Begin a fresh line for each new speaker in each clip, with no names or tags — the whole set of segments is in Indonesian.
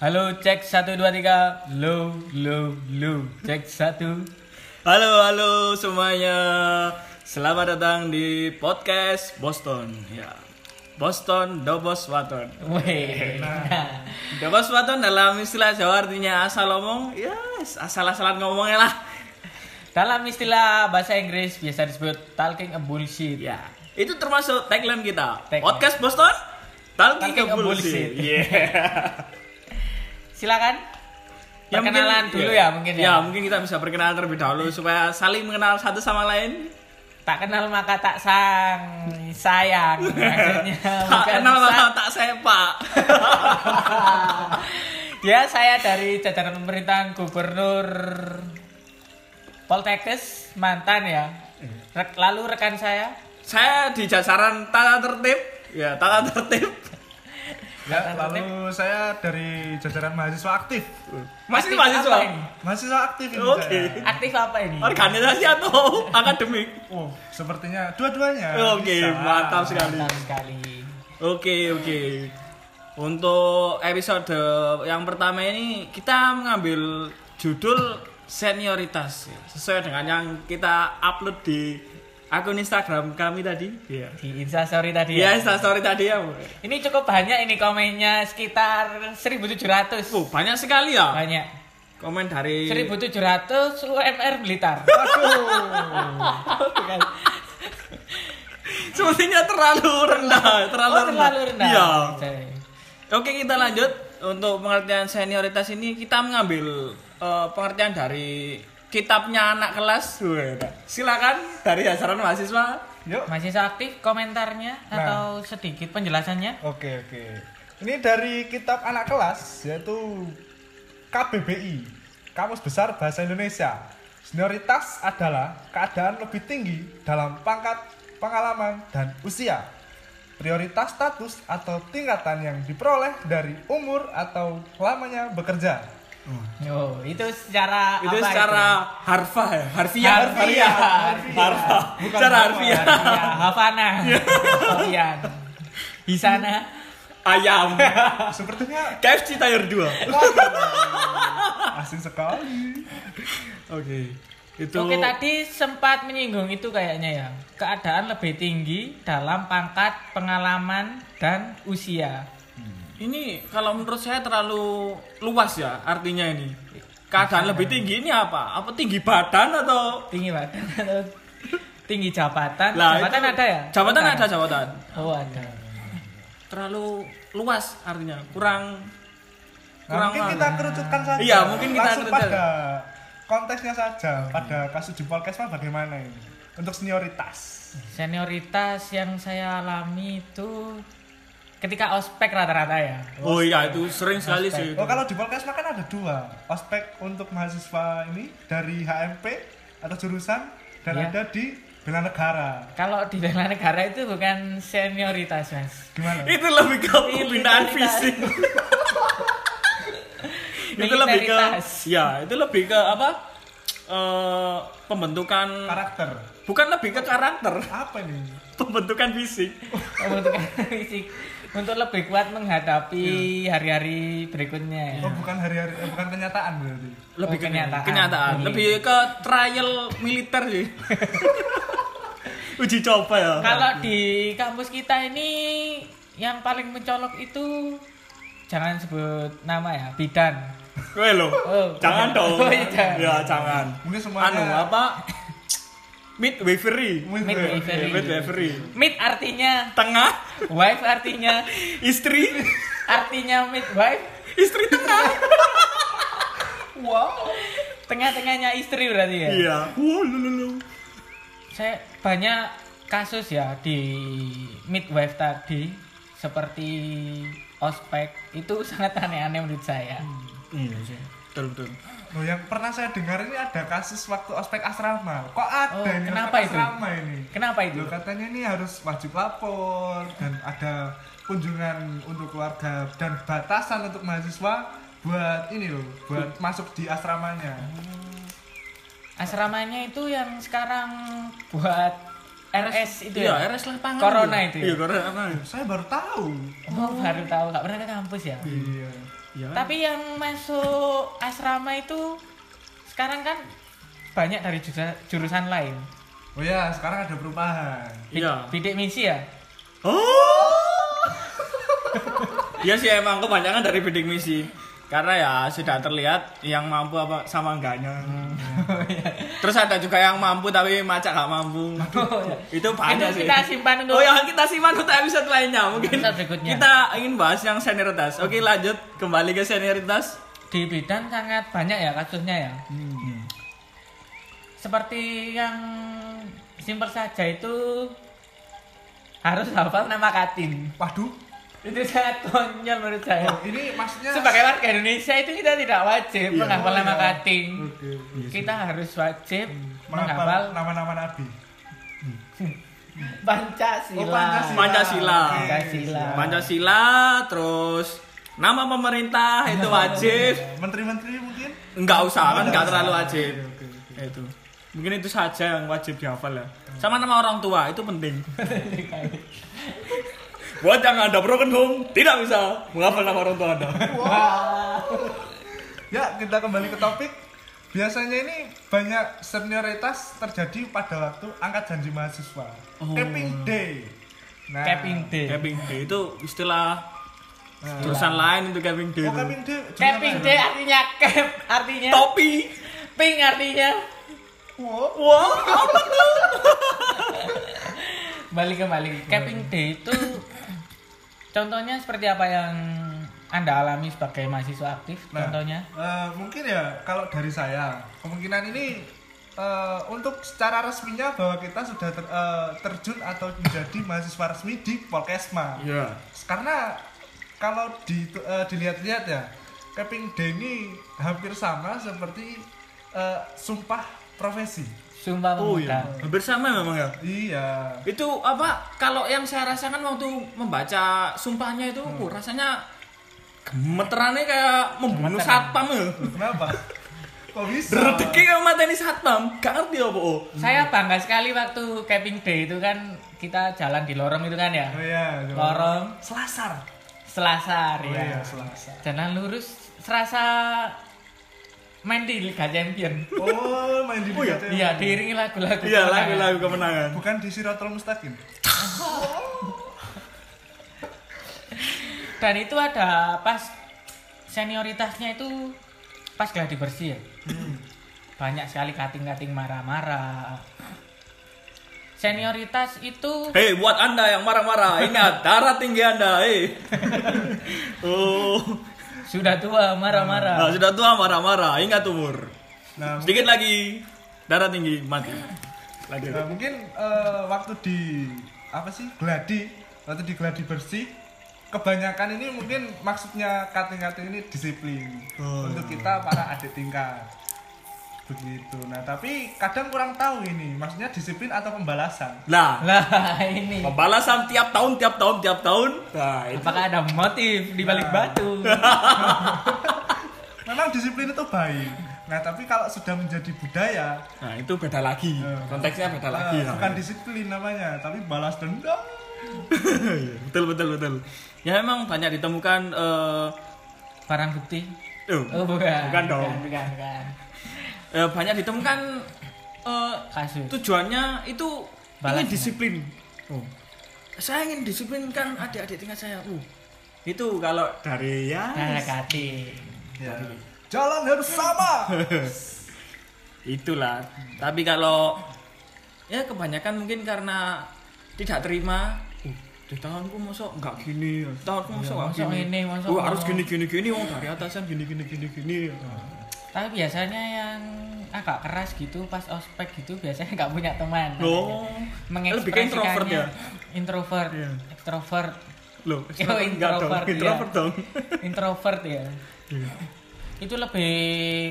Halo, cek 1, 2, 3 Low, low, low Cek 1
Halo, halo semuanya. Selamat datang di podcast Boston. Ya. Boston Dobos Waton.
Weh, nah.
Dobos Waton dalam istilah Jawa artinya asal ngomong, ya asal-asalan ngomongnya lah.
Dalam istilah bahasa Inggris biasa disebut talking a bullshit
Ya. Itu termasuk tagline kita.
Tagline.
Podcast Boston Iya. Talking
Talking
ke
a bullshit.
bullshit. Yeah.
Silakan
Ya, mungkin-
Perkenalan dulu ya, mungkin ya. Iya.
Ya, mungkin kita bisa perkenalan terlebih dahulu supaya saling mengenal satu sama lain.
Tak kenal maka tak sang Sayang Maksudnya
tak
bukan
kenal
sang.
maka tak sepak.
Ya, saya dari jajaran pemerintahan Gubernur Poltekkes mantan ya.
Hmm.
Rek- lalu rekan saya
Saya di jajaran tata tertib. Ya, tata tertib.
Ya, lalu saya dari jajaran mahasiswa aktif.
Masih
Aktif
mahasiswa.
apa ini?
Mahasiswa aktif ini ya?
Oke.
saya.
aktif apa ini?
Organisasi atau akademik?
Oh, sepertinya dua-duanya.
Oke,
bisa.
mantap sekali.
Mantap sekali.
Oke, oke. Untuk episode yang pertama ini kita mengambil judul senioritas sesuai dengan yang kita upload di akun Instagram kami tadi. Iya.
Di Instastory tadi
Iya,
ya.
Instastory tadi ya. Bu.
Ini cukup banyak ini komennya sekitar 1700.
Oh, banyak sekali ya
Banyak.
komen dari
1700 UMR Blitar. Bukan.
Sepertinya terlalu rendah, terlalu
oh, terlalu rendah.
Iya.
Saya-
Oke kita lanjut untuk pengertian senioritas ini kita mengambil eh, pengertian dari kitabnya anak kelas. Weh, Silakan dari ajaran mahasiswa.
Yuk.
Masih aktif komentarnya
Nah.
atau sedikit penjelasannya?
Oke, oke. Ini dari kitab anak kelas yaitu KBBI, Kamus Besar Bahasa Indonesia. Senioritas adalah keadaan lebih tinggi dalam pangkat, pengalaman, dan usia. Prioritas status atau tingkatan yang diperoleh dari umur atau lamanya bekerja.
Oh, itu secara
itu
apa
secara harfah ya, harfiah,
Harfiah.
harfah, secara harfiah. Iya.
Ya, Havana. Sofian. Di sana
Ayam.
Sepertinya
KFC Tire 2.
asing sekali.
Oke. Itu
Oke tadi sempat menyinggung itu kayaknya ya keadaan lebih tinggi dalam pangkat pengalaman dan usia
ini kalau menurut saya terlalu luas ya artinya ini. Keadaan
ya.
lebih tinggi ini apa? Apa tinggi badan atau
tinggi banget tinggi jabatan
Lah,
jabatan
itu-
ada ya
Jabatan
Bukan.
ada jabatan.
oh ada
terlalu luas artinya kurang
Nah,
kurang
mungkin
apa?
kita kerucutkan saja.
Iya, mungkin kita Hmm.
Langsung
kerucut.
pada konteksnya saja, pada kasus di Polkesmas bagaimana ini? Untuk senioritas.
senioritas yang saya alami itu ketika ospek rata-rata ya
oh iya itu sering sekali sih itu.
Oh, kalau di Polkesmas kan ada dua, ospek untuk mahasiswa ini dari HMP atau jurusan dan
Iya.
ada di bela negara.
kalau di bela negara itu bukan senioritas mas
Gimana?
itu lebih ke
Militaritas.
pembinaan fisik itu lebih ke
Militaritas.
ya itu lebih ke apa Eh, pembentukan
Karakter.
bukan lebih ke karakter
Apa nih?
pembentukan fisik
untuk fisik untuk lebih kuat menghadapi hari-hari berikutnya ya.
Iya.
Oh, bukan hari-hari, eh, bukan kenyataan berarti.
lebih
Oh,
ke
kenyataan.
kenyataan.
Iya.
lebih ke trial militer sih uji coba ya
Kalau di kampus kita ini yang paling mencolok itu jangan sebut nama ya, bidan.
Gue lo,
Oh,
jangan
iya.
dong.
Oh, iya, jangan.
Ya jangan.
Mungkin semuanya-
Anu apa? Mid wavery.
Midwifery.
Iya, Mid wavery.
Mid artinya
Tengah,
wife artinya
istri,
artinya midwife
istri tengah.
wow tengah-tengahnya istri berarti ya
Iya. Wow, lu, lu, lu.
saya banyak kasus ya di midwife tadi seperti ospek itu sangat aneh-aneh menurut saya
Iya sih. Betul betul.
Loh, yang pernah saya dengar ini ada kasus waktu ospek asrama. Kok ada
Oh,
ini
kenapa
ospek
itu?
asrama ini?
kenapa itu
Loh, katanya ini harus wajib lapor dan ada kunjungan untuk keluarga dan batasan untuk mahasiswa buat ini loh, buat masuk di asramanya.
Hmm. asramanya itu yang sekarang buat RS itu ya
Iya, RS lapangan.
Corona
iya.
itu ya?
Iya, corona.
Saya baru tahu.
Oh, baru tahu nggak pernah ke kampus ya
Iya.
Iya kan?
Tapi yang masuk asrama itu sekarang kan banyak dari jurusan, jurusan lain.
Oh ya, sekarang ada perubahan.
Bid-
Iya.
Bidik misi ya.
Oh. Iya sih emang kebanyakan dari bidik misi. Karena ya sudah terlihat yang mampu apa sama enggaknya. Terus ada juga yang mampu tapi macak gak mampu. Itu banyak
Itu
sih.
kita simpan untuk-
Oh ya kita simpan untuk episode lainnya mungkin.
Episode berikutnya.
Kita ingin bahas yang senioritas. Oke lanjut kembali ke senioritas.
Di bidan sangat banyak ya kasusnya ya.
Hmm.
Seperti yang simpel saja itu harus hafal nama katin.
Waduh,
Itu sangat konyol menurut saya.
oh, ini maksudnya oh
Sebagai warga Indonesia itu kita tidak wajib
Iya.
menghafal nama kating. Kita harus wajib menghafal
Hmm. menghafal nama-nama nabi.
Pancasila.
Oh, Pancasila.
Pancasila.
Pancasila.
Pancasila terus nama pemerintah itu wajib.
Menteri-menteri mungkin?
Enggak usah, kan enggak terlalu wajib. Itu. Mungkin itu saja yang wajib dihafal ya. Sama nama orang tua itu penting. Buat yang ada broken home tidak bisa menghafal nama orang tua Anda.
Ya, kita kembali ke topik. Biasanya ini banyak senioritas terjadi pada waktu angkat janji mahasiswa. Capping day. Nah,
Caping D.
Capping day itu istilah
Nah.
jurusan lain itu capping day.
Oh,
itu.
capping day. jurusan
Caping
apa
D
ya?
artinya cap, artinya
Topi.
pink artinya
Wow.
Wow, apa tuh?
balik kembali. Caping D itu contohnya seperti apa yang Anda alami sebagai mahasiswa aktif
Nah,
contohnya?
eh, mungkin ya kalau dari saya kemungkinan ini eh, untuk secara resminya bahwa kita sudah ter- eh, terjun atau menjadi mahasiswa resmi di Polkesma.
Iya.
Karena kalau di, eh, dilihat-lihat ya, Keping D ini hampir sama seperti eh, sumpah profesi.
Sumpah
Oh
pemuda.
iya. Hampir sama memang ya.
Iya.
itu apa kalau yang saya rasakan waktu membaca sumpahnya itu uh, rasanya gemeterannya kayak membunuh satpam ya
Kenapa? Kok bisa?
Redeki kayak mateni satpam gak ngerti apa oh.
Saya bangga sekali waktu Caping D itu kan kita jalan di lorong itu kan ya.
Oh iya, coba.
Lorong
Selasar.
Selasar
Oh
ya.
iya, Selasar.
Jalan lurus serasa main di Liga Champion.
Oh, main di Liga Champions.
Iya, diiringi lagu-lagu.
iya
kemenangan.
lagu-lagu kemenangan
Bukan di Siratul Mustaqim.
Dan itu ada pas senioritasnya itu pas gladi bersih ya.
Hmm.
Banyak sekali kating-kating marah-marah. Senioritas itu
hei buat anda yang marah-marah ingat darah tinggi anda hei oh
sudah tua
nah,
Hmm.
marah-marah.
sudah tua marah-marah ingat umur
Nah,
sedikit lagi darah tinggi mati lagi
Nah, mungkin eh, waktu di apa sih gladi waktu di gladi bersih kebanyakan ini mungkin maksudnya kating-kating ini disiplin
Oh,
untuk
iya.
kita para adik tingkat begitu nah tapi kadang kurang tahu ini maksudnya disiplin atau pembalasan
nah
Lah ini.
pembalasan tiap tahun tiap tahun tiap tahun nah itu
Apakah ada motif di balik batu?
Nah. memang disiplin itu baik nah tapi kalau sudah menjadi budaya
Nah itu beda lagi, konteksnya beda lagi.
eh,
ya.
bukan disiplin namanya tapi balas dendam
betul betul betul. Ya emang banyak ditemukan. eh
Barang bukti?
tuh,
Oh bukan.
Bukan dong.
Bukan, bukan, bukan.
eh, banyak ditemukan eh,
Kasus.
tujuannya itu
Balas,
ingin disiplin. Oh. Saya ingin disiplinkan adik-adik tingkat saya. Uh, itu kalau dari ya.
Nah, kating.
ya. jalan harus sama
Itulah. Tapi kalau ya kebanyakan mungkin karena tidak terima. Uh, di tanganku masuk nggak gini, di tanganku masuk nggak
masuk
gini.
ini, masuk
Uh, harus
ono.
gini gini gini, wong dari atasan gini gini gini gini.
Tapi biasanya yang agak keras gitu pas ospek gitu biasanya nggak punya teman.
Oh, lebih ke introvert ya.
Introvert,
Iya.
extrovert,
Loh,
Yo,
enggak dong,
introvert, iya.
introvert dong.
introvert ya.
Iya.
Itu lebih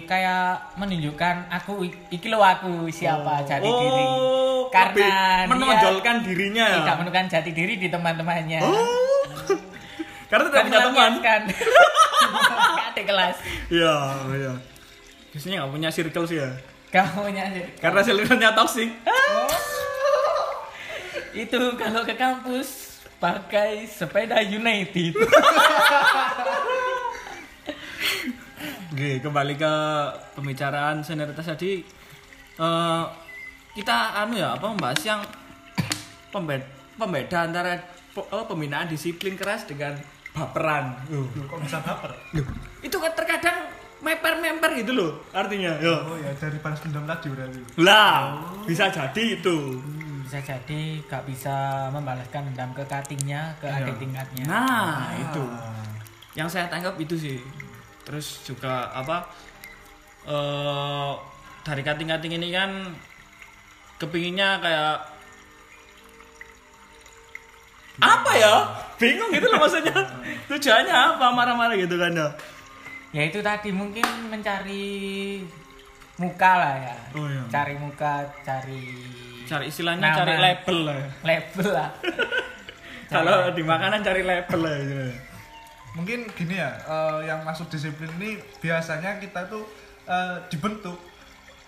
kayak menunjukkan aku i- iki lo aku siapa jati diri.
Oh,
Karena
lebih
dia
menonjolkan dirinya.
Tidak menunjukkan jati diri di teman-temannya.
Oh. Karena tidak punya teman.
Kan ada kelas.
Iya, iya. Biasanya nggak punya circle sih ya.
Kamu nyari.
Karena circle-nya toxic.
Itu kalau ke kampus pakai sepeda United.
Oke, kembali ke pembicaraan senioritas tadi. Eh, kita anu ya apa membahas yang pembeda, pembeda antara pe- eh, pembinaan disiplin keras dengan baperan. Loh,
Duh, kok bisa baper?
loh, Itu kan terkadang meper-meper gitu loh artinya. Yo.
Oh ya dari balas dendam tadi berarti.
Lah, bisa jadi itu.
bisa jadi gak bisa membalaskan dendam ke katingnya ke adik tingkatnya
Iya. Nah, itu. Yang saya tangkap itu sih. Terus juga apa eh dari kating-kating ini kan kepinginnya kayak apa ya? Bingung gitu loh maksudnya. Tujuannya apa marah-marah gitu kan ya?
ya itu tadi mungkin mencari muka lah ya
Oh, iya.
cari muka cari
Cari istilahnya
Nama.
cari label lah. ya.
label lah
Kalau di makanan cari label lah gitu.
mungkin gini ya eh, yang masuk disiplin ini biasanya kita tuh eh, dibentuk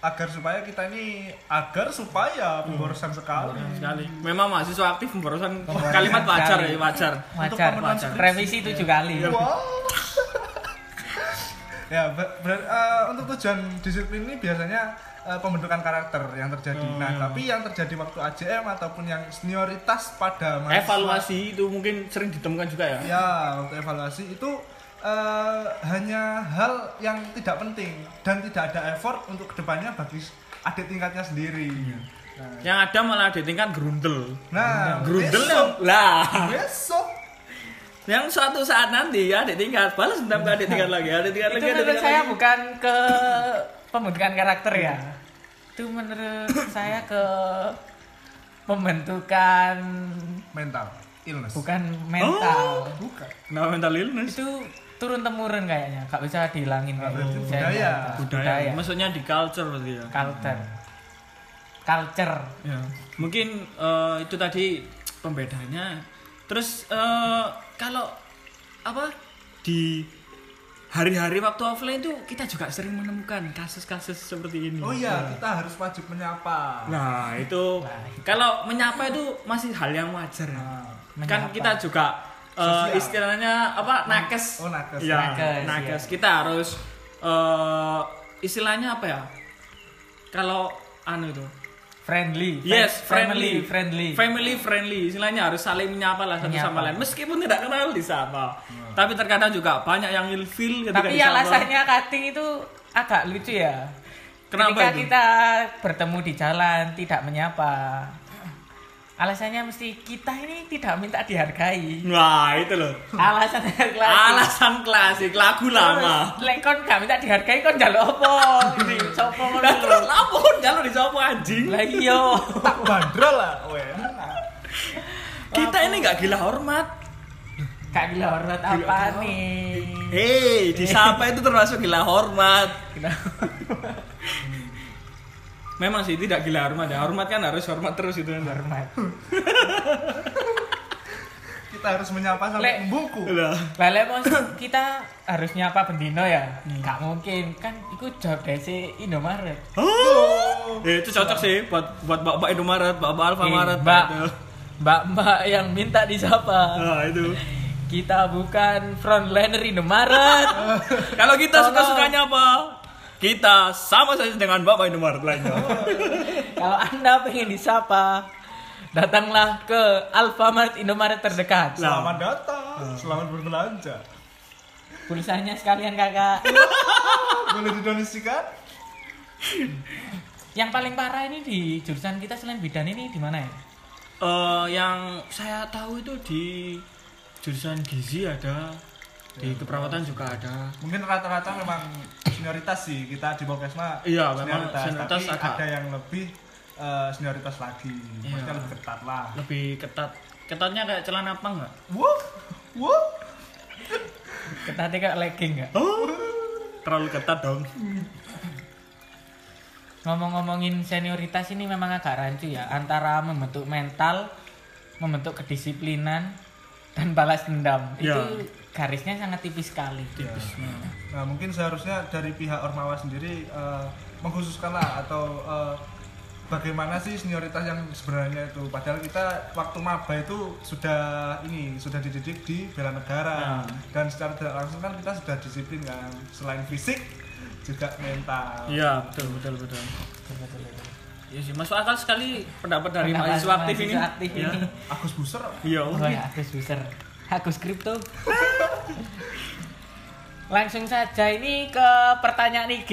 agar supaya kita ini agar supaya pemborosan sekali
Sekali. Memang mahasiswa aktif membosankan
Oh, iya.
kalimat wajar ya, wajar.
wajar
pemenuhan
wajar
skripsi.
revisi tujuh
Iya.
kali
wow ya ber- ber- eh, untuk tujuan disiplin ini biasanya eh, pembentukan karakter yang terjadi nah tapi yang terjadi waktu AJM ataupun yang senioritas pada mahasiswa-
Evaluasi itu mungkin sering ditemukan juga ya.
Ya, untuk evaluasi itu eh, hanya hal yang tidak penting dan tidak ada effort untuk kedepannya bagi adik tingkatnya sendiri.
Yang ada malah ada tingkat gerundel.
Iya. Nah,
Gerundel
besok,
yang- lah.
besok
Yang suatu saat nanti ya adik tingkat balas dendam ke adik tingkat lagi, adik tingkat
itu
lagi, adik
menurut
tingkat
saya
lagi.
bukan ke pembentukan karakter ya itu menurut saya ke pembentukan
mental illness.
bukan mental
Bukan.
Nah, mental illness.
itu turun temurun kayaknya nggak bisa dihilangin kayaknya.
berarti
Saya
budaya.
nggak tahu.
Budaya. Maksudnya di culture berarti ya.
culture culture
Ya. Mungkin eh, itu tadi pembedanya. Terus eh, kalau apa di hari-hari waktu offline itu kita juga sering menemukan kasus-kasus seperti ini.
Oh iya, kita harus wajib menyapa.
Nah, itu kalau menyapa itu masih hal yang wajar. ya.
menyapa.
kan kita juga eh,
Nah, Sosial.
istilahnya apa nakes.
Oh, nakes.
Ya,
Nakes,
nakes.
ya.
Kita harus eh, istilahnya apa ya? Kalau anu itu.
friendly
Yes,
family
friendly,
friendly
Family friendly. Istilahnya harus saling menyapa lah satu sama
Menyapa. Hmm.
lain. Meskipun tidak kenal disapa. Tapi terkadang juga banyak yang ilfil ketika
tapi
disapa.
alasannya cutting itu agak lucu ya
Kenapa
ketika
itu?
kita bertemu di jalan tidak menyapa alasannya mesti kita ini tidak minta dihargai
Wah, Nah, itu loh.
alasan kelas
Alasan klasik lagu lama.
lekon gak minta dihargai kon jaluk apa ini sopo ngono
Lah terus
lho.
lapor jalur di anjing.
lah iya
Tak bandrol lah, weh.
Kita ini nggak gila hormat.
gak gila hormat apa nih Iya.
Eh? Hei, disapa itu termasuk gila hormat. Memang sih tidak gila hormat ya. Hormat kan harus hormat terus itu kan.
hormat
Kita harus menyapa
Lek.
sampai membuku.
Lah,
Lele mos kita harus nyapa bendino ya? Gak mungkin kan itu job desi Indomaret.
Oh. Eh, itu cocok sih buat buat Bapak Indomaret, Bapak
Eh,
Alfamaret.
mbak,
Itu.
mbak-mbak yang minta disapa.
Nah, itu.
Kita bukan frontliner Indomaret.
Kalau kita
Tolong.
suka-sukanya apa? Kita sama saja dengan Bapak Indomaret lainnya.
Kalau Anda pengen disapa, datanglah ke Alfamart Indomaret terdekat.
Lah.
Selamat datang, selamat berbelanja.
Tulisannya sekalian Kakak.
Boleh didonasikan?
yang paling parah ini di jurusan kita selain bidan ini di mana ya?
Eh, yang saya tahu itu di jurusan gizi ada, di keperawatan juga ada.
mungkin rata-rata memang senioritas sih kita di Pokesma
Iya, memang senioritas
tapi
agak- Iya.
ada yang lebih eh, senioritas lagi maksudnya lebih ketat lah
lebih ketat ketatnya kayak celana apa nggak
wow wow
Ketatnya kayak legging nggak?
oh terlalu ketat dong
Ngomong-ngomongin senioritas ini memang agak rancu ya antara membentuk mental, membentuk kedisiplinan dan balas dendam.
Ya.
Itu garisnya sangat tipis sekali.
Iya,
nah mungkin seharusnya dari pihak Ormawa sendiri eh, mengkhususkan lah atau eh, bagaimana sih senioritas yang sebenarnya itu padahal kita waktu maba itu sudah ini sudah dididik di bela negara
Ya.
dan secara tidak langsung kan kita sudah disiplin kan selain fisik juga mental
Iya, betul betul betul. Iya sih, masuk akal sekali pendapat dari
Pendapat
mahasiswa aktif ini.
mahasiswa aktif
Iya.
ini.
Agus Buser
Iya,
Oh ya, aku user. Aku kripto. Langsung saja ini ke pertanyaan IG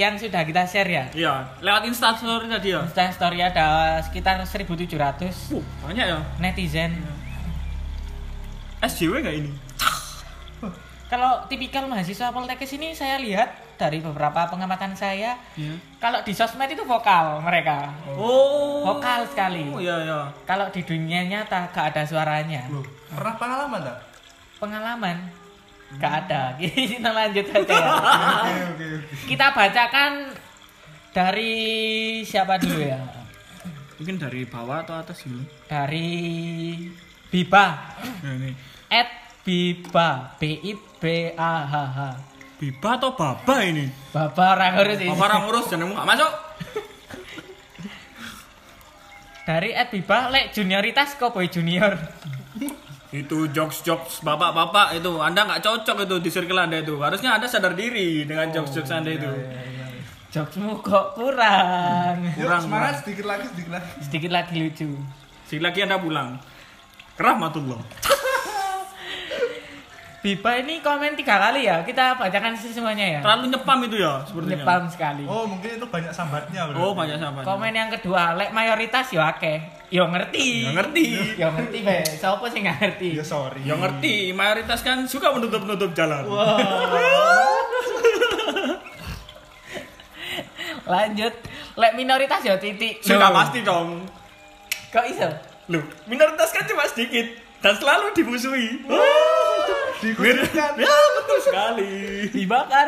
yang sudah kita share ya.
iya. Lewat instastory tadi ya.
Insta story ada sekitar 1700
Wuh, banyak ya.
netizen.
SJW nggak ini?
Kalau tipikal mahasiswa Poltekkes ini saya lihat dari beberapa pengamatan saya,
Iya.
kalau di sosmed itu vokal mereka.
Oh.
Vokal sekali.
Oh, iya, iya.
Kalau di dunia nyata gak ada suaranya.
Loh, pernah pengalaman tak?
Pengalaman gak ada. Kita lanjut aja. ya.
Oke oke oke.
Kita bacakan dari siapa dulu ya?
Mungkin dari bawah atau atas dulu.
Dari Biba.
Nah, ini.
At Biba. B I B A H H.
Biba atau baba ini?
Bapak orang ngurus ini.
Baba orang ngurus jangan nggak masuk.
Dari Ed Biba, lek junioritas Cowboy Junior.
Itu jokes-jokes bapak-bapak itu Anda nggak cocok itu di circle Anda itu Harusnya Anda sadar diri dengan jokes-jokes Anda itu
Jokesmu kok kurang.
Yuk,
Kurang,
semangat sedikit lagi sedikit lagi
Sedikit lagi lucu.
Sekali lagi Anda pulang Kerahmatullah
Biba ini komen tiga kali ya. Kita bacakan semuanya ya.
Terlalu nyepam itu ya sepertinya
Nyepam sekali.
oh mungkin itu banyak sambatnya
Oh
bro
banyak sahabat
Komen yang kedua, lek mayoritas yo akeh. Yo ngerti.
Ya ngerti
Yo ngerti be. Sopo sing nggak ngerti?
ya sorry
Ya ngerti Mayoritas kan suka menutup-nutup jalan
Lanjut. Lek minoritas ya, yo titik.
Sudah
Loh,
pasti dong
Kok iso?
Loh minoritas kan cuma sedikit Dan selalu dimusuhi
dikucilkan
Ya betul sekali
Dibakar.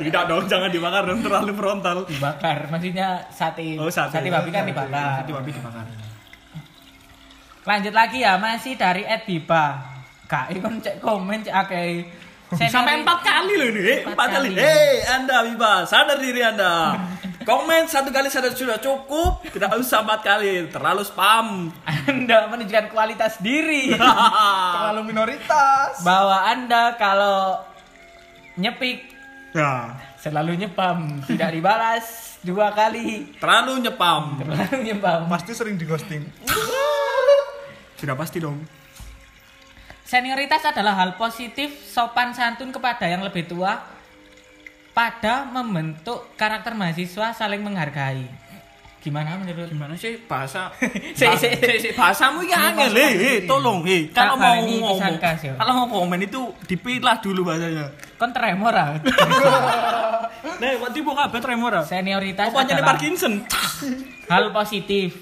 Tidak dong jangan dibakar dong terlalu frontal
dibakar. Maksudnya sate.
Oh, sate.
babi kan
Ah,
dibakar.
Nanti babi dibakar
Lanjut lagi ya, masih dari Ed Biba. Kak, ini kan cek komen cek akeh. Seniori-
Sampai empat kali loh ini, eh,
Empat
empat kali.
kali.
Hei, Anda Wiba, sadar diri Anda. Komen satu kali sadar sudah cukup, tidak usah empat kali, terlalu spam.
Anda menunjukkan kualitas diri
terlalu minoritas
bahwa Anda kalau nyepik
ya,
selalu nyepam, tidak dibalas dua kali.
terlalu nyepam.
Selalu nyepam.
pasti sering di ghosting
Sudah pasti dong.
Senioritas adalah hal positif, sopan santun kepada yang lebih tua, pada membentuk karakter mahasiswa saling menghargai. Gimana menurut
Gimana sih bahasa?
Si,
Bah-
si, si, si.
Bahasamu ya angel, eh, eh, tolong, eh. Kalau
Kabar
mau
ini
ngomong,
disangkas, ya.
kalau mau komen itu dipilah dulu bahasanya.
Kon tremor ah.
Nah, waktu ibu kabar tremor ah.
Senioritas
Apa nyari
adalah
Parkinson?
hal positif.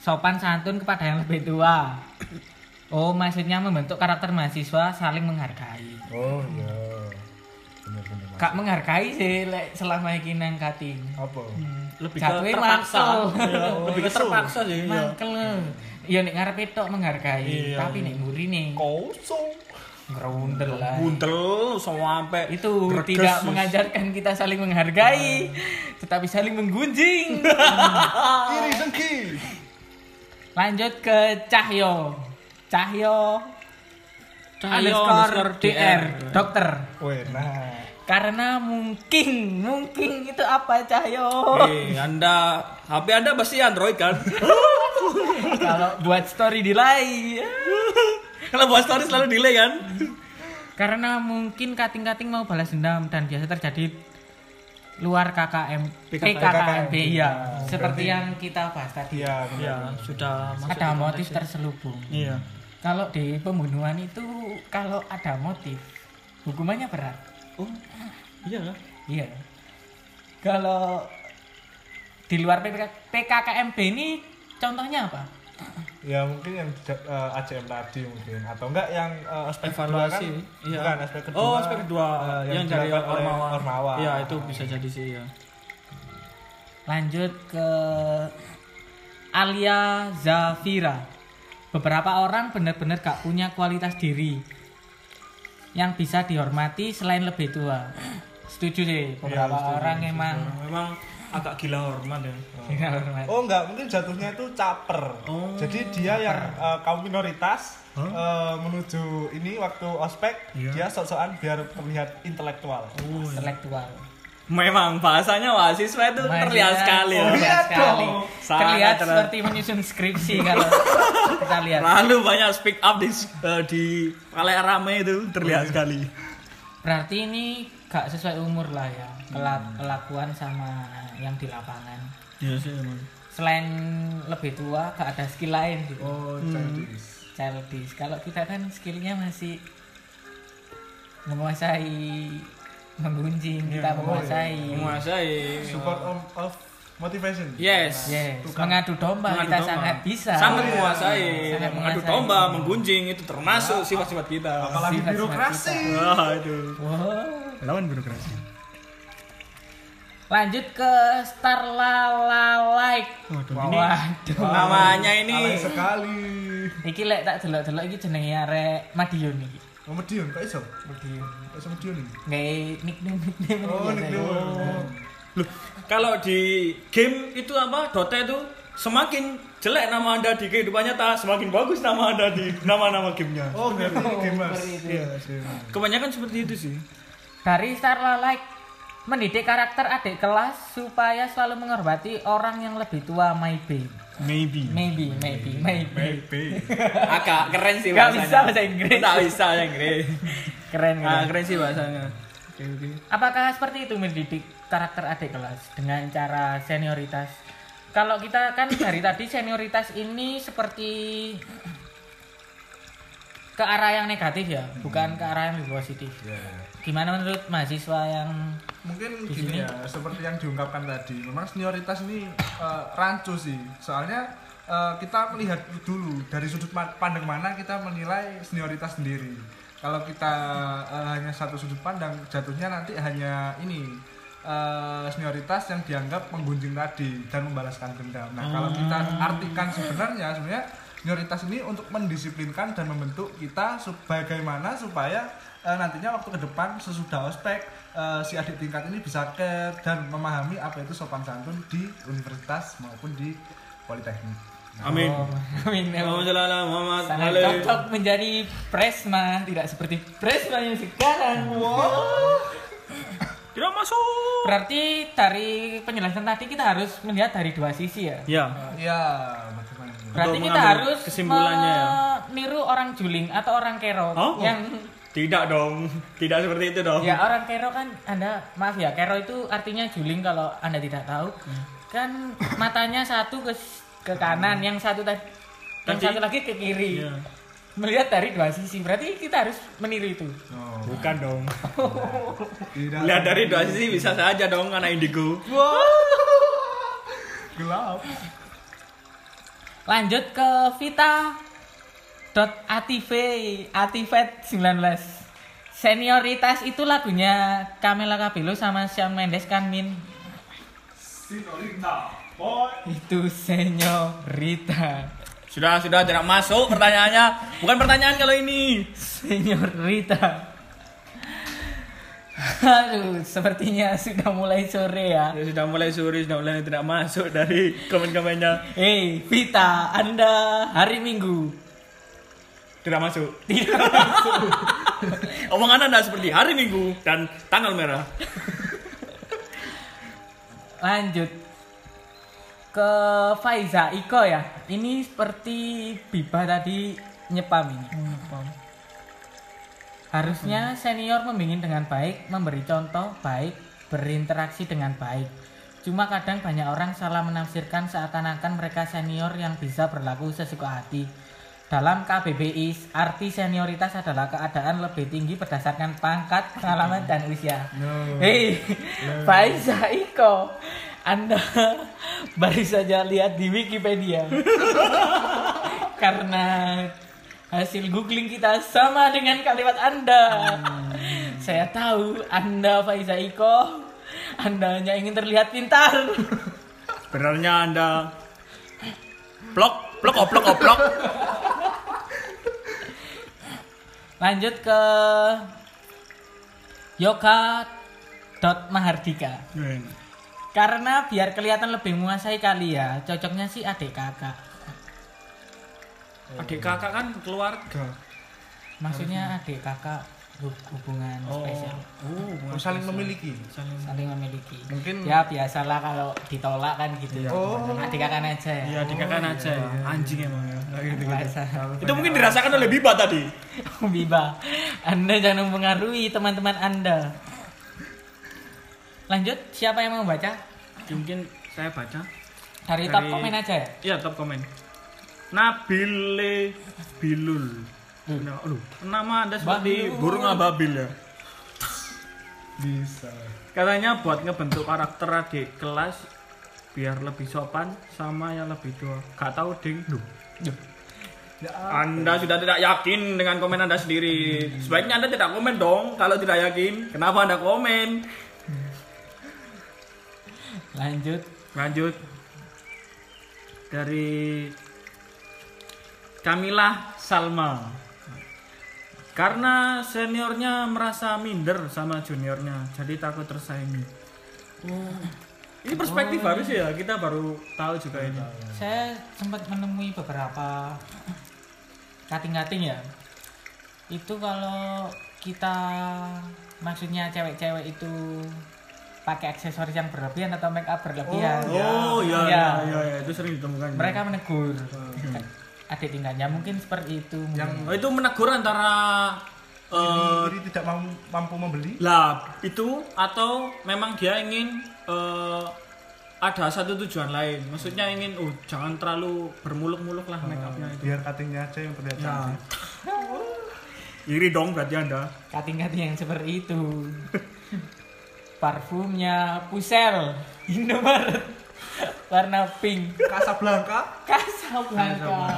Sopan santun kepada yang lebih tua. Oh, maksudnya membentuk karakter mahasiswa saling menghargai.
oh iya bener bener
Kak menghargai sih lek selama ini nang kating.
apa
Lebih
Jatuhnya mangkel.
Ya, Lebih ke
Iya.
terpaksa sih. ya.
Mangkel. Ya nek ngarepe tok menghargai,
Iya.
tapi nek mburine
kosong
ngerundel lah.
buntel sampai
Itu
greges,
tidak
Sus.
mengajarkan kita saling menghargai, tetapi saling menggunjing.
kiri dengki
Lanjut ke Cahyo. Cahyo
Cahyo
underscore DR, dokter.
weh nah
Karena mungkin, mungkin itu apa Cahyo?
Eh, Anda HP Anda pasti Android kan?
Kalau buat story delay.
Kalau buat story selalu delay kan?
Karena mungkin kating-kating mau balas dendam dan biasa terjadi luar KKM
PKKMB.
PKKMB iya seperti yang kita bahas tadi
iya bener.
Iya, sudah masuk
ada
ke
motif
konteks
terselubung
ya. Iya.
kalau di pembunuhan itu kalau ada motif hukumannya berat
Oh. Iya lah.
Iya. Kalau di luar PPK PKKMB ini contohnya apa?
ya mungkin yang ja- eh, ACM tadi mungkin atau enggak yang eh, aspek
Evaluasi.
kedua kan?
Iya.
bukan aspek kedua
oh, aspek kedua
eh,
yang, dari
dilakukan oleh
Ormawa.
Ormawa
Iya, itu bisa jadi sih ya.
Lanjut ke Alia Zafira. Beberapa orang benar-benar gak punya kualitas diri yang bisa dihormati selain lebih tua. Setuju deh, beberapa orang emang
Memang agak gila hormat ya.
Gila hormat.
Oh enggak, mungkin jatuhnya itu caper.
Oh,
Jadi dia yang eh, kaum minoritas eh, menuju ini waktu ospek
Iya.
dia sok-sokan biar terlihat intelektual.
Intelektual.
Memang bahasanya mahasiswa itu terlihat
Mainnya
sekali. ya.
terlihat
Iya
sekali.
dong.
Sangat
Oh, Terlihat
terlihat.
seperti menyusun skripsi kalau kita lihat.
Lalu banyak speak up di eh, di kali rame itu
Iya.
terlihat sekali.
Berarti ini gak sesuai umur lah ya.
Hmm.
Kela- Kelakuan sama yang di lapangan.
Iya sih emang.
Selain lebih tua, gak ada skill lain gitu.
Oh,
Hmm.
childish.
childish. Kalau kita kan skillnya masih menguasai menggunjing, kita menguasai.
Menguasai.
Support on- of motivation.
Yes.
Yes, mengadu domba
Mengadu
kita
domba.
sangat bisa.
Sangat menguasai,
Sangat
mengadu
menguasai.
domba, menggunjing itu termasuk sifat-sifat kita.
Apalagi
Sifat-sifat
birokrasi.
Wah, itu.
Wow.
Lawan birokrasi.
Lanjut ke Starla Like.
Waduh,
Waduh.
Namanya
Alay
ini
sekali.
Iki lek tak delok-delok iki jenenge arek Madiun iki.
Oh, Medion, kok iso?
Madiun.
Kok iso Medion ini?
Nggak nickname nickname.
Oh,
biasa.
ini oh.
Loh, kalau di game itu apa Dota itu semakin jelek nama anda di kehidupan nyata semakin bagus nama anda di nama-nama gamenya
Oh, berarti ini gamers.
Seperti itu.
Iya, gamers.
kebanyakan seperti itu sih
Dari Starla Like mendidik karakter adik kelas supaya selalu menghormati orang yang lebih tua maybe
Maybe.
maybe maybe maybe
Maybe.
agak keren sih
Nggak
bahasanya
bisa bahasa Inggris.
nggak bisa bahasa Inggris
keren
Ah,
kan
keren sih bahasanya oke oke
apakah seperti itu mendidik karakter adik kelas dengan cara senioritas kalau kita kan dari tadi senioritas ini seperti ke arah yang negatif ya bukan ke arah yang lebih positif gimana menurut mahasiswa yang
Mungkin gini ya, seperti yang diungkapkan tadi, memang senioritas ini eh, rancu sih. Soalnya eh, kita melihat dulu dari sudut ma- pandang mana kita menilai senioritas sendiri. Kalau kita eh, hanya satu sudut pandang, jatuhnya nanti hanya ini eh, senioritas yang dianggap menggunjing tadi dan membalaskan dendam. Nah, kalau
Hmm.
kita artikan sebenarnya sebenarnya senioritas ini untuk mendisiplinkan dan membentuk kita sebagaimana supaya Eh, nantinya waktu ke depan sesudah ospek eh, si adik tingkat ini bisa care dan memahami apa itu sopan santun di universitas maupun di politeknik.
amin
Oh, amin.
Allahumma shalli ala Muhammad
sangat
Alaihi.
cocok menjadi presma tidak seperti presma yang sekarang
tidak masuk
berarti dari penjelasan tadi kita harus melihat dari dua sisi ya
ya
Iya, bagaimana?
berarti
Untuk
kita
mengambil
harus
kesimpulannya ya.
meniru orang juling atau orang kero
Oh.
yang
tidak dong tidak seperti itu dong
ya orang kero kan anda maaf ya kero itu artinya juling kalau anda tidak tahu
Hmm.
kan matanya satu ke ke kanan yang satu tadi yang satu
Tadi-
lagi ke kiri
Iya.
melihat dari dua sisi berarti kita harus meniru itu
Oh,
bukan dong
tidak
lihat dari dua sisi bisa saja dong anak indigo
gelap.
lanjut ke Vita dot atv ativet 19 senioritas itu lagunya Camila Cabello sama Shawn Mendes kan min itu senyorita
sudah sudah tidak masuk pertanyaannya bukan pertanyaan kalau ini
Senyorita. Aduh, sepertinya sudah mulai sore ya.
Ya, sudah mulai suri, sudah mulai tidak masuk dari komen-komennya.
Hei, Vita, Anda hari Minggu
Tidak masuk.
tidak
Omongan Anda seperti hari Minggu dan tanggal merah.
lanjut ke Faiza Iko ya. Ini seperti Biba tadi nyepam ini. Harusnya senior membimbing dengan baik, memberi contoh baik, berinteraksi dengan baik. Cuma kadang banyak orang salah menafsirkan seakan-akan mereka senior yang bisa berlaku sesuka hati. Dalam KBBI, arti senioritas adalah keadaan lebih tinggi berdasarkan pangkat, pengalaman, dan usia. Hei, Faiza Iko, Anda baru saja lihat di Wikipedia. Karena Hasil googling kita sama dengan kalimat Anda.
Hmm.
Saya tahu Anda Faiza Iko. Anda hanya ingin terlihat pintar.
Sebenarnya Anda blok, oh, blok, oblok, oblok.
Lanjut ke Yoga dot Mahardika. Karena biar kelihatan lebih menguasai kali ya. Cocoknya sih adik kakak.
Adik kakak kan keluarga.
Maksudnya adik kakak hu- hubungan spesial.
Hmm. Oh,
Oh, saling memiliki.
Saling memiliki.
Mungkin-
ya biasalah kalau ditolak kan gitu.
Oh.
Adik kakak aja ya.
Iya, adik kakak aja ya. Anjing emang ya. Kayak gitu.
Biasa.
Itu mungkin dirasakan oleh Biba tadi.
Biba, Anda jangan mempengaruhi teman-teman Anda. Lanjut, siapa yang mau baca?
Mungkin saya baca.
Dari, top
Dari-
komen aja ya?
Iya, top komen. Nabile Bilul. Nah, aduh, nama Anda seperti
Bahlul.
burung ababil ya. Eh,
Bisa.
Katanya buat ngebentuk karakter adik kelas biar lebih sopan sama yang lebih tua. Gak tahu ding. Duh. Anda sudah tidak yakin dengan komen Anda sendiri. Sebaiknya Anda tidak komen dong kalau tidak yakin. Kenapa Anda komen?
Lanjut.
Lanjut dari Kamila Salma. Karena seniornya merasa minder sama juniornya, jadi takut tersaingi. Oh, Ini perspektif baru sih ya, kita baru tahu juga ini.
Saya sempat menemui beberapa kating-kating ya. Itu kalau kita maksudnya cewek-cewek itu pakai aksesoris yang berlebihan atau make up berlebihan.
Oh iya
Iya.
iya iya iya, itu sering ditemukan.
Mereka menegur.
Hmm.
Adik tingkatnya mungkin seperti itu.
Yang
Oh, itu menegur antara eh,
ini tidak mam- mampu membeli.
lah itu atau memang dia ingin eh, ada satu tujuan lain maksudnya ingin uh jangan terlalu bermuluk-muluk lah make upnya Ya, itu
Biar katingnya aja yang terlihat
ya
cantik.
iri dong berarti anda
kating-kating yang seperti itu parfumnya Pusel Indomaret warna pink
Casablanca.
Casablanca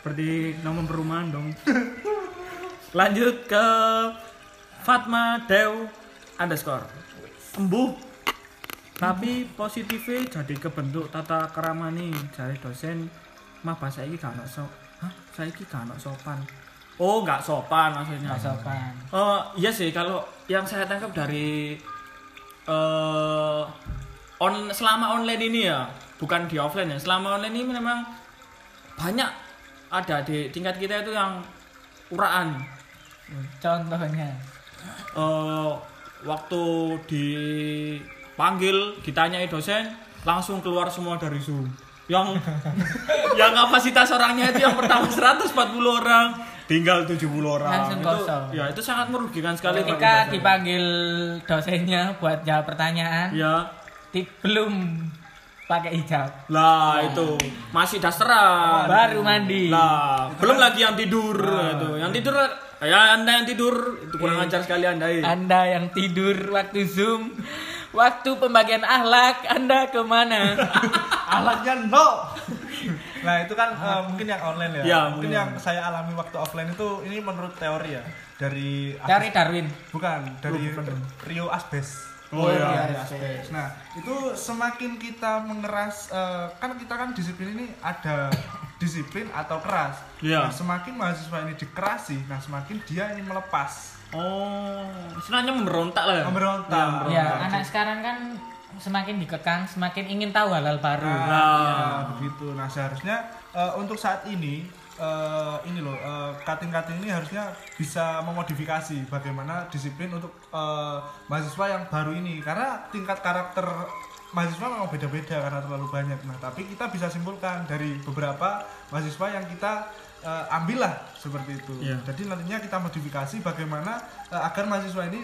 seperti nomor perumahan dong lanjut ke Fatma Dew underscore sembuh tapi positifnya jadi kebentuk tata kerama nih dari dosen mah bahasa ini gak so hah saya ini gak sopan oh nggak sopan maksudnya
sopan
Eh, iya sih kalau yang saya tangkap dari eh on selama online ini ya, bukan di offline ya. Selama online ini memang banyak ada di tingkat kita itu yang uraan.
contohnya
Eh, waktu dipanggil ditanyai dosen langsung keluar semua dari Zoom. Yang yang kapasitas orangnya itu yang pertama 140 orang, tinggal 70 orang.
Langsung
itu,
kosong.
ya itu sangat merugikan sekali bagi
ketika
dosen.
dipanggil dosennya buat jawab pertanyaan
Ya,
ti- belum pakai hijab
lah itu masih dasteran.
baru mandi
Lah, belum lagi yang tidur itu. Yang tidur ya Anda yang tidur itu kurang ajar sekali Anda. eh.
anda yang tidur waktu zoom waktu pembagian ahlak anda kemana
Alatnya no. Nah itu kan eh, mungkin yang online ya.
Ya,
mungkin yang saya alami waktu offline itu ini menurut teori ya dari
cari Darwin
bukan dari Rio Asbes.
Oh iya.
Dari Asbes. Nah itu semakin kita mengeras eh, kan kita kan disiplin ini ada disiplin atau keras.
Ya.
Nah, semakin mahasiswa ini dikerasi, nah semakin dia ini melepas
Oh, istilahnya memberontak lah ya.
memberontak.
ya anak sekarang kan semakin dikekang semakin ingin tahu halal baru
Nah,
Nah.
ya, begitu. Nah, seharusnya eh, untuk saat ini eh, ini loh eh, kating-kating ini harusnya bisa memodifikasi bagaimana disiplin untuk eh, mahasiswa yang baru ini karena tingkat karakter mahasiswa memang beda-beda karena terlalu banyak. Nah, tapi kita bisa simpulkan dari beberapa mahasiswa yang kita eh, ambillah seperti itu.
Iya.
Jadi nantinya kita modifikasi bagaimana eh, agar mahasiswa ini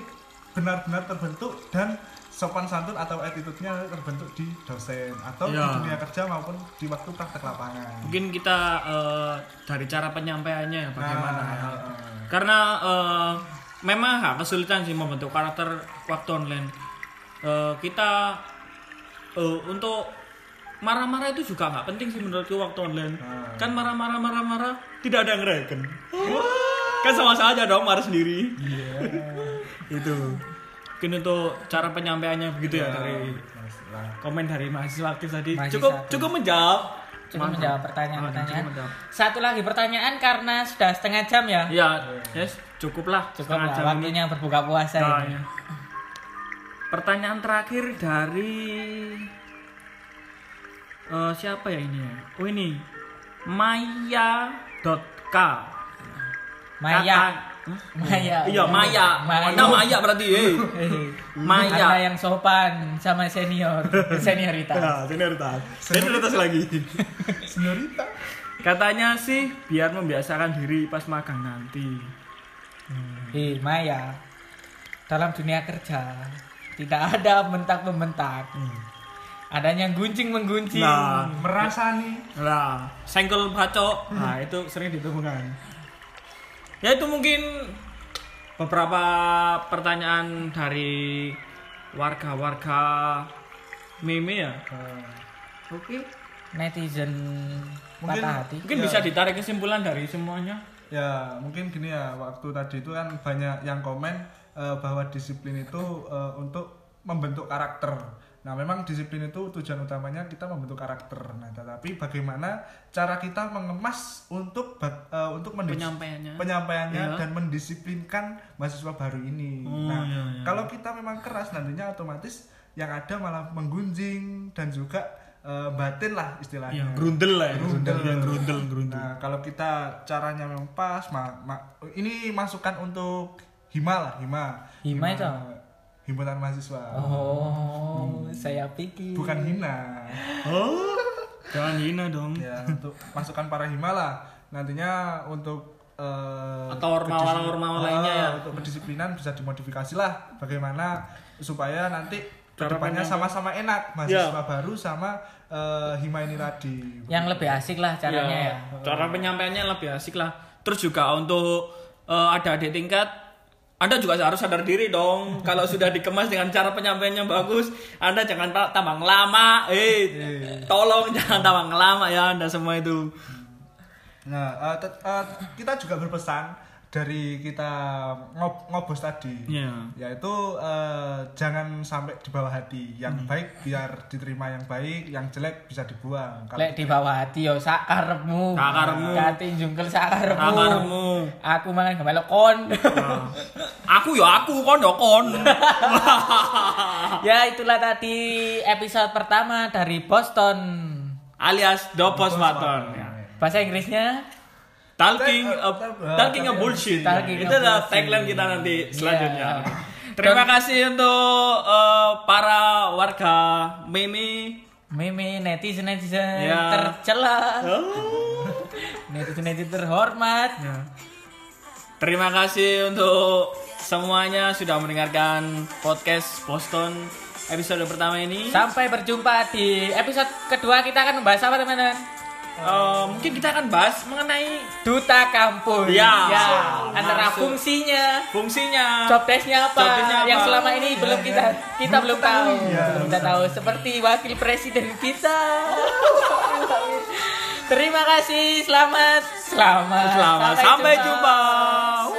benar-benar terbentuk dan sopan santun atau attitude-nya terbentuk di dosen atau di
Iya.
dunia kerja maupun di waktu praktek lapangan.
Mungkin kita eh, dari cara penyampaiannya ya bagaimana.
Nah,
ya.
eh,
Karena eh, memang agak kesulitan sih membentuk karakter waktu online. Eh, kita eh, untuk marah-marah itu juga nggak penting sih menurutku waktu online.
Hmm.
Kan marah-marah marah-marah tidak ada yang ngereken. kan sama saja dong marah sendiri.
Iya.
itu. Mungkin untuk cara penyampaiannya begitu ya dari
eh. masalah.
komen dari mahasiswa aktif tadi.
Iya. Mahasiswa
cukup
aktif.
cukup menjawab.
Cukup menjawab pertanyaan-pertanyaan.
Ah, Cukup menjawab.
Satu lagi pertanyaan karena sudah setengah jam ya.
Ya, yes, cukuplah.
Cukup
Setengah
lah,
jam ini. Ah,
waktunya berbuka puasa
Nah,
ini.
ya. Pertanyaan terakhir dari eh, siapa ya ini ya? Oh ini Maya.k
Maya.
Kata-
Maya.
Iya Maya.
Maya.
Nah, Maya berarti. eh. Maya.
Kata yang sopan sama senior, senioritas.
Nah, senioritas. Senioritas lagi.
Seniorita.
Katanya sih biar membiasakan diri pas magang nanti.
Hei Maya, dalam dunia kerja tidak ada mentak membentak. Adanya gunjing menggunjing.
Hmm. Nah,
Merasani
Nah, sengkel bacok. Nah, itu sering ditemukan. Ya itu mungkin beberapa pertanyaan dari warga-warga meme ya. Oke.
Netizen
Mungkin-
patah hati.
Mungkin bisa ditarik kesimpulan dari semuanya.
Ya, mungkin gini ya, waktu tadi itu kan banyak yang komen eh, bahwa disiplin itu eh, untuk membentuk karakter. Nah, memang disiplin itu tujuan utamanya kita membentuk karakter. Nah, tetapi bagaimana cara kita mengemas untuk bag- eh, untuk mendis-
Penyampaiannya.
penyampaiannya
Iya.
dan mendisiplinkan mahasiswa baru ini.
Oh,
nah,
iya, iya.
kalau kita memang keras nantinya otomatis yang ada malah menggunjing dan juga eh, batin lah istilahnya.
grundel lah ya.
Grundel.
Ya, grundel, grundel.
Nah, kalau kita caranya memang pas, ma- ma- ini masukan untuk Hima lah, Hima.
Hima itu?
Himpunan mahasiswa.
Oh, saya pikir.
Bukan hina.
Oh. Jangan hina dong.
Ya, untuk masukan para Hima lah. Nantinya untuk eh,
Atau ormawa-ormawa
kedisiplin-
lainnya ya.
Ah, Untuk kedisiplinan bisa dimodifikasi lah bagaimana supaya nanti kedepannya sama-sama enak mahasiswa
Ya.
baru sama eh, Hima ini tadi.
Yang lebih asik lah caranya ya.
Iya, Cara penyampaiannya lebih asik lah. Terus juga untuk eh, adik-adik tingkat, Anda juga harus sadar diri dong. Kalau sudah dikemas dengan cara penyampaiannya bagus, Anda jangan ta- tambah lama. Eh,
Iya.
tolong jangan tambah lama ya Anda semua itu.
Nah, eh, tet- eh, kita juga berpesan dari kita ngob- ngobos tadi,
Iya.
yaitu eh, jangan sampai di bawah hati. Yang baik biar diterima yang baik, yang jelek bisa dibuang. Kalau-
Lek di bawah hati yo sakarepmu.
Sakarepmu.
Kati jungkel sakarepmu.
Sakarepmu.
Aku malah gak kon.
Aku ya aku kon ya kon.
ya itulah tadi episode pertama dari Boston.
Alias dopos waton. Ya.
Bahasa Inggrisnya
Talking a- talking a bullshit.
Talking
itu
a
adalah
bullshit.
tagline kita nanti selanjutnya.
Iya.
Terima kasih untuk eh, para warga Mimi.
meme netizen netizen
Ya.
tercela. Netizen netizen terhormat.
Terima kasih untuk semuanya sudah mendengarkan podcast Boston episode pertama ini.
Sampai berjumpa di episode kedua kita akan membahas apa teman-teman?
Eh, mungkin kita akan bahas mengenai
Duta kampus.
Ya.
Antara
Masuk.
fungsinya,
fungsinya.
job testnya apa
Job testnya apa?
yang selama ini belum kita kita belum tahu Iya, belum kita tahu seperti wakil presiden kita terima kasih selamat selamat
Selamat sampai jumpa.